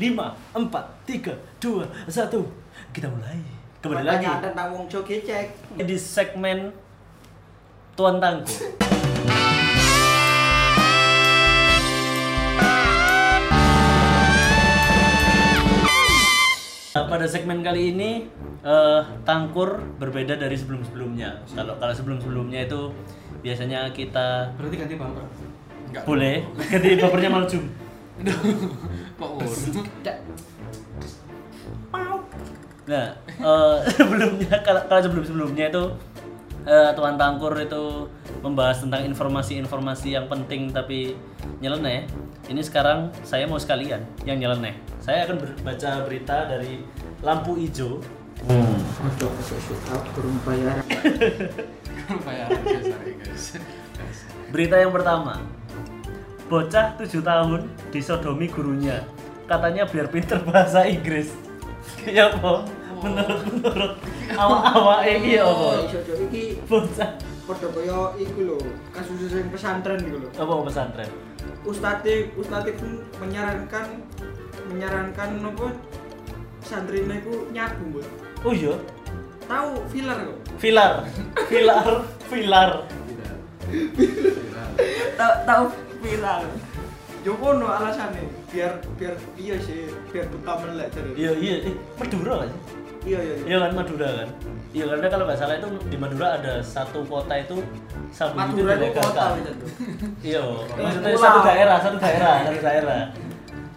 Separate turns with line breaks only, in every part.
lima empat tiga dua satu kita mulai kembali lagi
Pertanyaan tentang wong Jo Gecek.
di segmen tuan tangguh Nah, pada segmen kali ini eh, tangkur berbeda dari sebelum-sebelumnya. Kalau kalau sebelum-sebelumnya itu biasanya kita
Berarti ganti bumper.
Enggak.
boleh ganti bumpernya maljum.
Kok urut?
Nah, eh, sebelumnya kalau kalau sebelum sebelumnya itu eh, Tuan Tangkur itu membahas tentang informasi-informasi yang penting tapi nyeleneh. Ini sekarang saya mau sekalian yang nyeleneh. Saya akan baca berita dari Lampu Ijo.
Ojo ojo shoot out burung bayaran.
Bayaran guys, sorry guys.
Berita yang pertama. Bocah 7 tahun disodomi gurunya. Katanya biar pinter bahasa Inggris. Ya apa? Menurut menurut awak-awak ini ya apa?
Iso Jo iki
Bocah
padha kaya iku lho, kasus sing pesantren iku lho.
apa pesantren?
Ustadz Ustadz pun menyarankan menyarankan apa santrine iku nyabu, Bu.
Oh iya,
Tahu filler kok.
Vilar, Vilar, Vilar.
Tidak.
Tahu tahu filler. Yo kono alasane biar biar iya sih, biar betah melek jadi.
Iya iya, eh, Madura kan?
Iya iya. iya.
Iya kan Madura kan? Iya karena kalau nggak salah itu di Madura ada satu kota itu sabu itu
Madura itu kota
dilegalkan.
gitu. Eh,
Iya, maksudnya
Pulau.
satu daerah, satu daerah, satu daerah.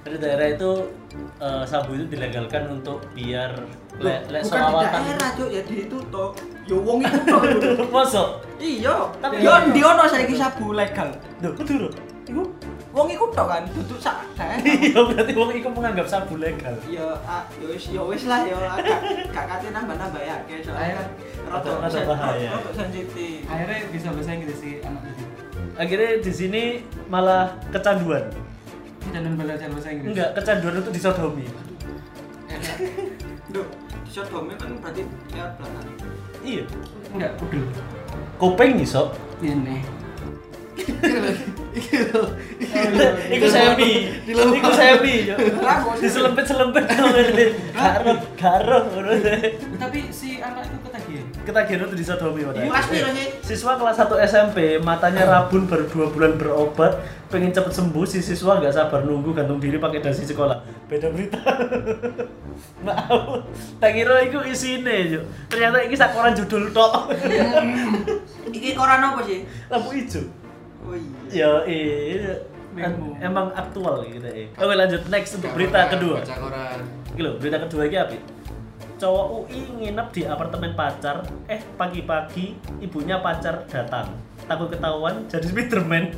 Satu daerah itu eh, sabu itu dilegalkan untuk biar lek
Loh,
lek
bukan
solawatan.
di daerah cuk ya di itu toh yo wong itu toh lho.
Masuk.
iya
Tapi-
yo ndi ono saiki sabu legal
Duh, Madura.
iku wong iku toh kan duduk sak daerah
Iya berarti wong itu menganggap sabu legal.
yo ah, yo wis yo wis lah yo ah, gak gak kate nambah-nambah ya ke soalnya kan rada
Rada- rada
sen-
bahaya.
rada sensitif
Akhirnya bisa bahasa Inggris sih anak ini.
Akhirnya di sini malah kecanduan.
Jangan belajar bahasa Inggris.
Enggak, kecanduan untuk disodomi.
lho disodome kan berarti ya belakang
Iya.
Enggak, kudu.
Kuping iso.
Ini.
Iku saya pi. Iku saya pi. Diselempet-selempet kau ngerti. Garot, garot
Tapi si anak itu ketagihan.
Ketagihan untuk disodomi padahal.
Kelas piro sih?
Siswa kelas 1 SMP, matanya rabun baru 2 bulan berobat, pengen cepet sembuh, si siswa nggak sabar nunggu gantung diri pakai dasi sekolah. Beda berita. Maaf, tak kira itu isine, Cuk. Ternyata ini sakoran judul tok.
iki koran apa sih
Lampu hijau.
oh iya
Ya, eh,
Bingung.
emang aktual gitu eh. Oke lanjut next untuk berita kedua.
Baca koran.
Iki lho, berita kedua iki apa? Cowok UI nginep di apartemen pacar, eh pagi-pagi ibunya pacar datang. Takut ketahuan jadi Spiderman.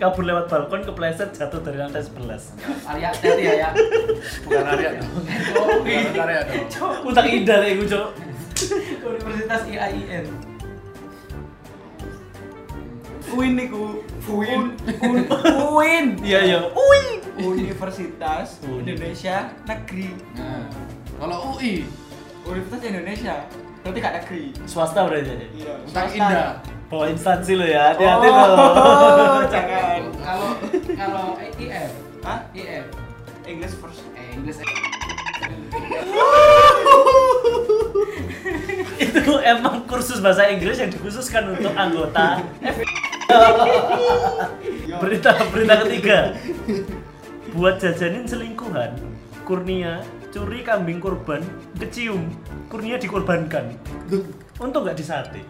Kabur lewat balkon kepleset jatuh dari lantai 11.
Arya, Oh, iya. hati ya ya.
Bukan Arya dong. Bukan Arya dong.
Utang indah ya gue, Cok.
Universitas IAIN.
Uin niku Uin Uin Uin
Iya, iya. Ui.
Universitas
Uin.
Indonesia Negeri
Nah, kalau UI,
Universitas Indonesia berarti gak negeri
Swasta berarti.
iya
Utang
swasta.
Indah.
Bawa instansi lo ya, hati-hati lo.
oh, jangan
Eh, Kalau kalau IF,
Hah?
IF,
English first
eh Inggris.
Itu emang kursus bahasa Inggris yang dikhususkan untuk anggota. berita berita ketiga. Buat jajanin selingkuhan, Kurnia curi kambing kurban, kecium, Kurnia dikorbankan. Untung nggak disate.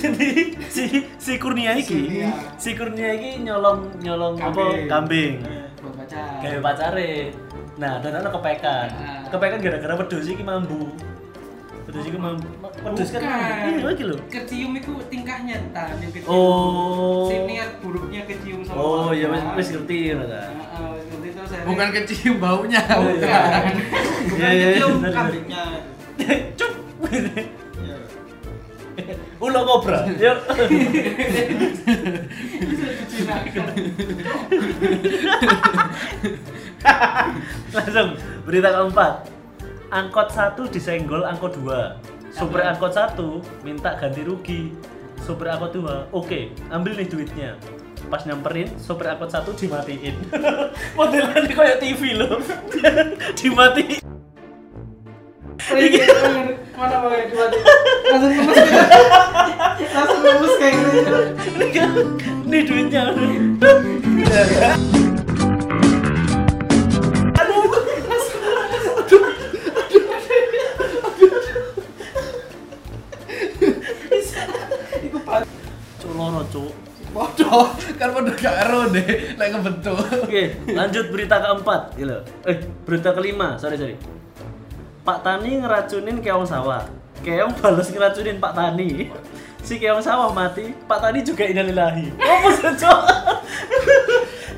Jadi si si Kurnia iki, si Kurnia iki nyolong nyolong apa
Kambing.
kambing.
Buat baca.
Kayak pacare. Nah, dan ana kepekan.
Ah.
Kepekan gara-gara wedhus iki mambu. Wedhus iki mambu. Wedhus kan mambu. Iya iki lho.
Kecium itu tingkahnya tan yang kecium.
Oh.
Si niat buruknya kecium sama
Oh,
orang.
ya wis wis ngerti ngono ta.
Heeh, wis ngerti terus akhirnya-
bukan kecium baunya.
Bukan.
Iya, iya, iya,
kecium
bener, bener.
kambingnya
Cuk.
Iya.
Ulo kobra. Yuk. Langsung berita keempat. Angkot 1 disenggol angkot 2. Supir angkot 1 minta ganti rugi. Supir angkot 2, oke, ambil nih duitnya. pas nyamperin sopir angkot satu dimatiin modelannya kayak TV loh dimatiin
Oh, iya, Mana mau ya cuma langsung lemes gitu. Langsung lemes kayak gitu.
ini duitnya Cuk, loro cuk
Waduh, kan udah gak ero deh, lagi kebentuk.
Oke, lanjut berita keempat, gitu. Eh, berita kelima, sorry sorry. Pak Tani ngeracunin keong sawah. Keong balas ngeracunin Pak Tani. Si keong sawah mati, Pak Tani juga inalilahi. Apa sih, Cok?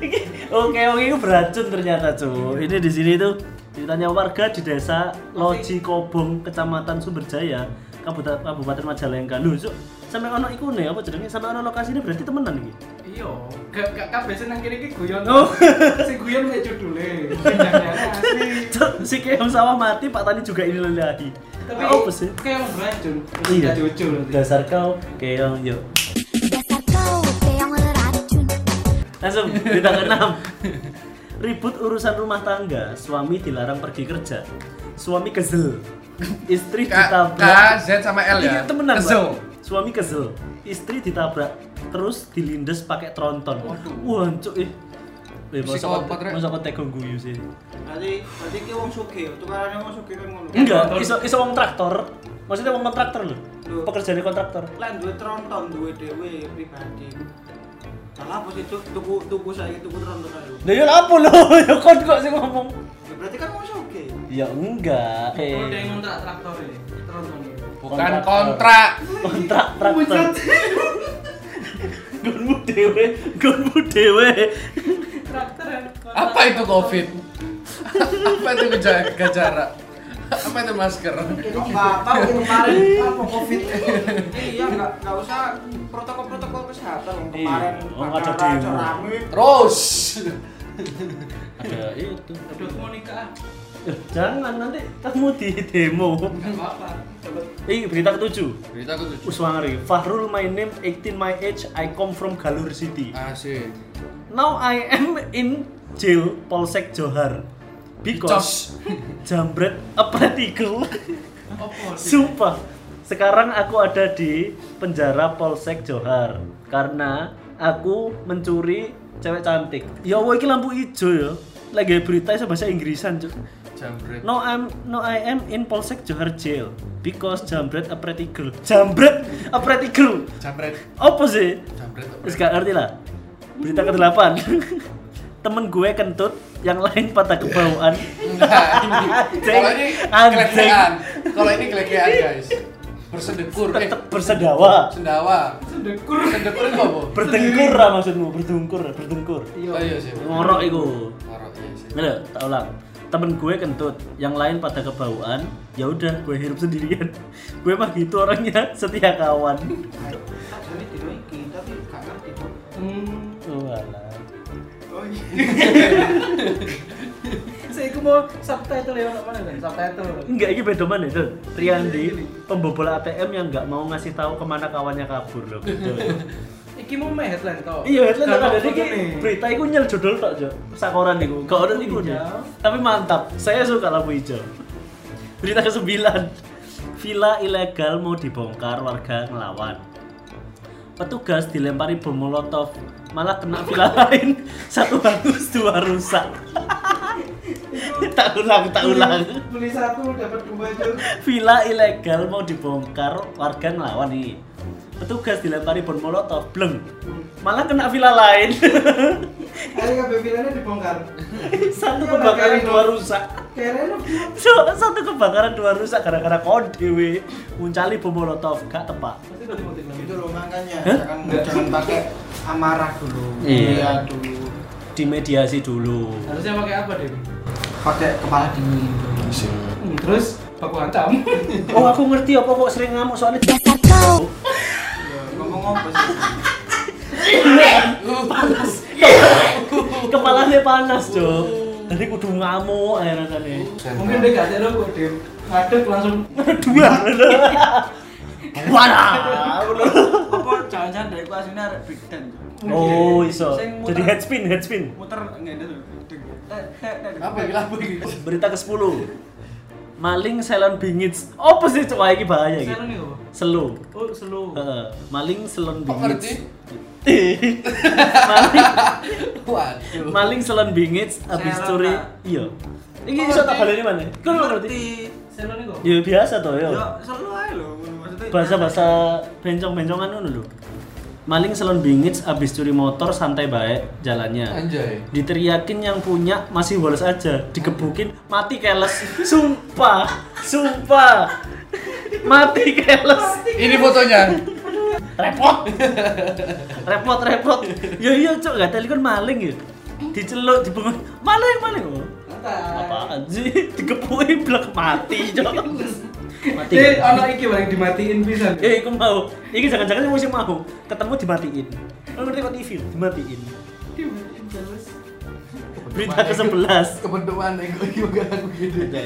Iki- Oh, keong itu beracun ternyata, Cok. Ini di sini tuh ceritanya warga di desa Loji Kobong, Kecamatan Sumberjaya, Kabupaten, Kabupaten Majalengka. Loh, Cok, sampai ono ikune apa jenenge? Sampai ono lokasine berarti temenan iki.
Iya, gak gak kabeh sing nang kiri iki guyon.
Oh.
Sing guyon mek judule. Jangan asli.
Cuk, si keong sawah mati, Pak Tani juga ini lagi.
Tapi
apa sih?
kayak yang beracun.
Iya.
Iya, jujur.
Dasar kau keong yuk.
dasar kau keong racun
Langsung berita keenam. Ribut urusan rumah tangga, suami dilarang pergi kerja. Suami kesel. Istri
K, K,
ditabrak.
Z sama L ya.
Iya, temenan, Pak.
Kesel.
Suami kesel. Istri ditabrak, terus dilindes pakai tronton.
Waduh.
Wah, cuk ih. Eh, masa kau-
Psikopat, Rek.
masa kau tega guyu sih?
Berarti berarti ki wong sugih, tukarane wong sugih kan ngono.
Enggak,
tronton.
iso iso wong traktor. Maksudnya wong kontraktor lho.
Loh.
Pekerjaane kontraktor.
Lan duwe tronton duwe dhewe pribadi. Salah apa sih Cuk? tuku tuku saiki tuku tronton ayo.
Lah ya apa lho? Ya kon kok sing ngomong.
Ya, berarti kan wong sugih.
Ya enggak.
Udah
Eh,
Oh, yang ngontrak traktor ini. Terus ngono.
Bukan
Kontraktor.
kontrak.
kontrak traktor. Gonmu dewe, gonmu dewe.
Traktor ya.
Apa itu COVID? Apa itu geja- jaga jarak? Apa itu masker?
Kok bapak kok kemarin apa covid? Iya nggak nggak usah protokol protokol kesehatan yang kemarin.
Iya, oh, ada
bakar
demo.
rame.
Terus.
Ada itu.
Udah mau nikah.
Eh, Jangan nanti kamu di demo.
Enggak apa-apa. Dapat
Ih, berita ketujuh.
Berita aku tujuh.
Uswangari, Fahrul my name, 18 my age, I come from Galur City.
Asik.
Now I am in jail Polsek Johar. Because jambret apretiku
opo sih?
Sumpah. Sekarang aku ada di penjara Polsek Johar karena aku mencuri cewek cantik. Ya Allah, iki lampu hijau ya. Lagi berita iso bahasa Inggrisan, Cuk.
Jambret.
No I'm no I am in Polsek Johar jail because jambret a pretty girl. Jambret a pretty girl.
Jambret.
Apa sih?
Jambret.
Terus gak ngerti lah. Berita ke-8. Temen gue kentut, yang lain patah kebauan.
Enggak, ini. Kalau ini
Anjing.
kelekean. Kalau ini kelekean, guys. Bersedekur. Eh,
Tetep bersedawa.
sendawa.
Sedekur.
Bersedekur itu apa?
Berdengkur lah maksudmu, berdungkur, berdungkur.
Oh iya sih.
Ngorok iku.
Ngorok, iya sih.
Nggak, tak ulang. Temen gue kentut, yang lain pada kebauan. Ya udah, gue hidup sendirian. gue mah gitu orangnya, setia kawan.
Nah, Tak jadi dino iki tapi gak ngerti kok.
Hmm.
Walah.
Oh iya.
Saya iku mau subtitle ya ono mana kan? Subtitle.
Enggak, ini beda mana, Dul? Riyandi, pembobol ATM yang nggak mau ngasih tahu kemana kawannya kabur loh.
Iki mau meh headline to.
iya, itu tak ada
iki.
ini. Berita itu nyel judul tak, Jo. Sakoran iku. Gak ada iku nih.
Hijau.
Tapi mantap. Saya suka lampu hijau. Berita ke-9. Villa ilegal mau dibongkar warga ngelawan. Petugas dilempari bom molotov, malah kena villa lain. Satu hangus, dua rusak. tak ulang, tak ulang.
Beli satu dapat dua jur.
Villa ilegal mau dibongkar, warga ngelawan nih. Petugas dilempari bom molotov, bleng. Malah kena villa lain.
Hari kabeh bilangnya dibongkar.
Satu kebakaran dua rusak.
Keren lu.
Iya,
gitu
So, Satu kebakaran dua rusak gara-gara kon dewe nguncali bom molotov gak tepat.
Pasti udah motif lagi.
Itu Gitu loh makanya jangan jangan pakai amarah dulu.
Iya.
dulu.
Dimediasi dulu.
Harusnya pakai apa, Dewi?
Pakai kepala dingin dulu.
Hmm, terus baku hantam.
Oh, aku ngerti apa kok sering ngamuk soalnya
dasar kau
Iya.
Ya, Ngomong apa sih?
kepalanya panas, Cok. Tadi kudu ngamuk eh, ae rasane.
Mungkin dia gak ada kok, Dewi. Ngadek langsung
Dua. Walah.
Apa jangan jangan-jangan dari aku aslinya ada big dance.
Oh, iso.
Sing muter-
Jadi head spin, head spin.
muter nggak ada tuh. Deg, tek, tek, tek.
Apa ya lagu ini?
Berita ke-10. Maling selon bingits. Apa sih cok Wah, ini bahaya
Selo
gitu.
nih, apa?
Selo.
Oh, slow.
Heeh, maling selon
Kok ngerti?
bingits. maling,
Waduh.
maling selon bingits habis
Selon,
curi.
Kak.
Iya. Ini
Kok
iso
ngerti?
tak baleni mana? Kok lo ngerti?
ngerti.
Selo nih kok.
Ya biasa toh ya.
Ya, slow aja loh. Maksudnya
Bahasa-bahasa bencong-bencongan ngono lho. Maling selon bingits habis curi motor santai baik jalannya.
Anjay.
diteriakin yang punya masih bolos aja digebukin mati keles sumpah sumpah mati keles
Ini fotonya.
repot repot repot ya iya cok gak tadi kan maling ya diceluk dibangun maling maling oh, apaan sih digebukin blok mati cok mati kan?
Eh,
keles.
anak iki bang dimatiin pisan.
eh aku mau ini jangan-jangan yang musim mau ketemu dimatiin Lo ngerti kok TV dimatiin berita ke sebelas
Kebentuan yang gue juga lagu gini.
Iya,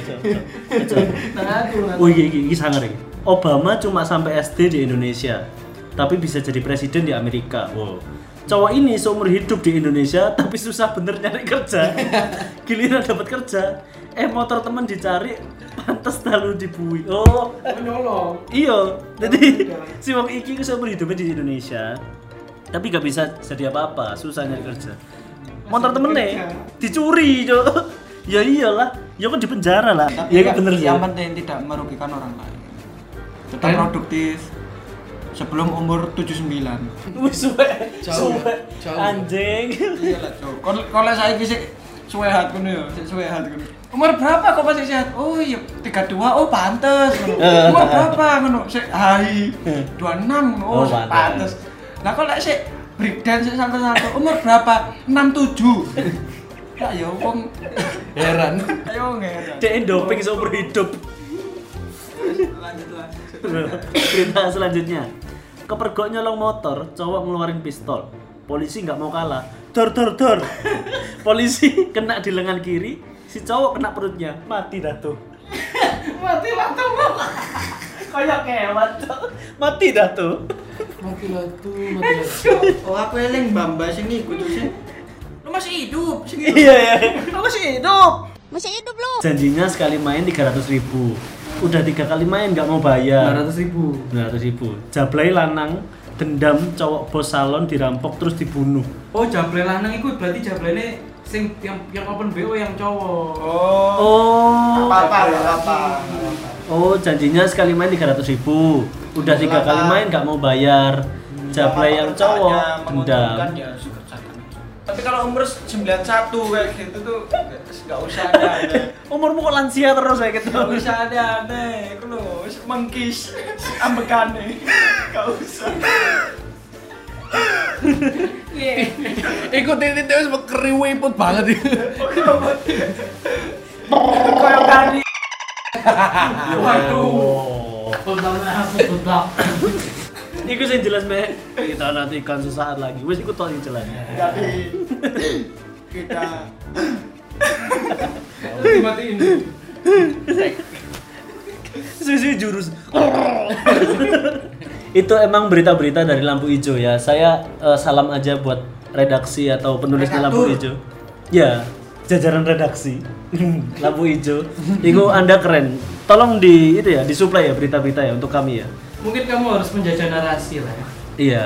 Oh iya, iya, iya sangar iya. Obama cuma sampai SD di Indonesia, tapi bisa jadi presiden di Amerika. Wow. Cowok ini seumur hidup di Indonesia, tapi susah bener nyari kerja. Giliran dapat kerja, eh motor temen dicari, pantas lalu dibui. Oh,
Menolong.
Oh,
Iya, jadi si Wong Iki ku seumur hidupnya di Indonesia, tapi gak bisa jadi apa-apa, susah nyari kerja. Motor temennya dicuri, jo. Ya iyalah, ya kan di penjara lah.
Tapi
Ya
yang-
kan bener ya.
yang penting tidak merugikan orang lain. Tetap
Dan-
produktif sebelum umur 79.
Wih suwe,
Jauh ya,
suwe,
jauh.
anjing.
Iyalah, Cok. Kon- Kalau saya iki sik suwe hatku nih ya, sik suwe hatku nih. Umur berapa kok masih sehat? Oh iya, 32. Oh, pantes. ngono.
Eh.
Umur berapa ngono? Sik hai.
Eh.
26.
Oh,
Oh, sik
pantes.
pantes. Lah kok lek sik break dance sik santai-santai. Umur berapa? 67. Lah ya wong Ya,
Heran.
ayo ngeran.
Dia doping seumur hidup.
Lanjut lanjut.
Berita selanjutnya. Kepergok nyolong motor, cowok ngeluarin pistol. Polisi nggak mau kalah. Dor dor dor. Polisi kena di lengan kiri, si cowok kena perutnya. Mati dah tuh.
Mati lah kamu.
Kayak kewan, Cok. Mati dah tuh.
Mati latu, mati
Eh,
latu.
Oh aku eling mbak sini kudu sih. Lu masih hidup sing hidup.
Iya ya.
Lu masih hidup.
Masih hidup lu.
Janjinya sekali main 300 ribu. Udah tiga kali main nggak mau bayar.
200 ribu.
200 ribu. Jablay lanang dendam cowok bos salon dirampok terus dibunuh.
Oh, jable lanang iku berarti jablene sing yang yang open BO yang cowok.
Oh.
Oh.
Apa-apa, apa-apa.
Oh, janjinya sekali main 300 ribu. Udah tiga
Kenapa?
kali main nggak mau bayar.
Iya,
Jablay yang cowok dendam.
ya, Tapi kalau umur 91 kayak gitu tuh enggak usah ada.
Umurmu kok lansia terus kayak gitu.
Enggak usah ada aneh. Iku lho wis mengkis ambekane. Enggak usah.
Ikut titik terus berkeriwiput banget.
Kayak kali.
Waduh.
Tentang aku tentang.
Iku sing jelas me. Kita nanti ikan sesaat lagi. Wis iku tok sing jelas.
Jadi kita
Dimatiin.
Sisi jurus. Itu emang berita-berita dari lampu hijau ya. Saya eh, salam aja buat redaksi atau penulis di lampu hijau. Ya, jajaran redaksi lampu hijau. Iku Anda keren. Tolong di itu ya, disuplai ya berita-berita ya untuk kami ya.
Mungkin kamu harus menjajah narasi lah. ya.
Iya,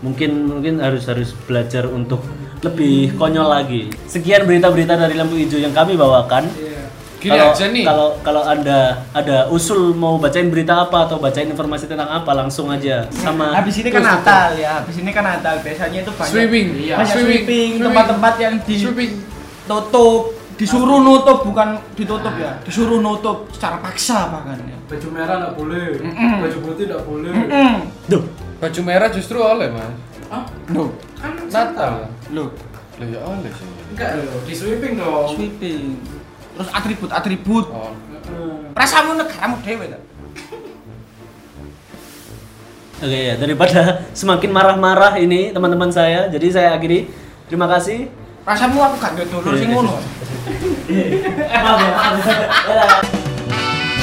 mungkin mungkin harus harus belajar untuk lebih konyol lagi. Sekian berita-berita dari lampu hijau yang kami bawakan.
Iya.
Gini
Kalau-
aja nih.
Kalau kalau Anda ada usul mau bacain berita apa atau bacain informasi tentang apa langsung aja sama
habis ini kan Natal ya. Habis ini kan Natal. Biasanya itu banyak
Swimming.
Iya.
banyak sweeping, tempat-tempat yang
Swimming.
ditutup disuruh nutup bukan ditutup ya disuruh nutup secara paksa bahkan ya
Baju merah nggak boleh, baju putih nggak boleh.
Hmm.
Duh,
Baju merah justru oleh, Mas.
Ah,
no
kan
Natal.
lo
Lah ya oleh sih.
enggak loh, di sweeping dong.
sweeping terus atribut atribut
Oh.
Heeh.
rasamu negaramu dewe ta
oke ya daripada semakin marah-marah ini teman-teman saya, jadi saya akhiri. Terima kasih.
rasamu aku gak duwe dulur sing ngono
Maaf ya. Dadah.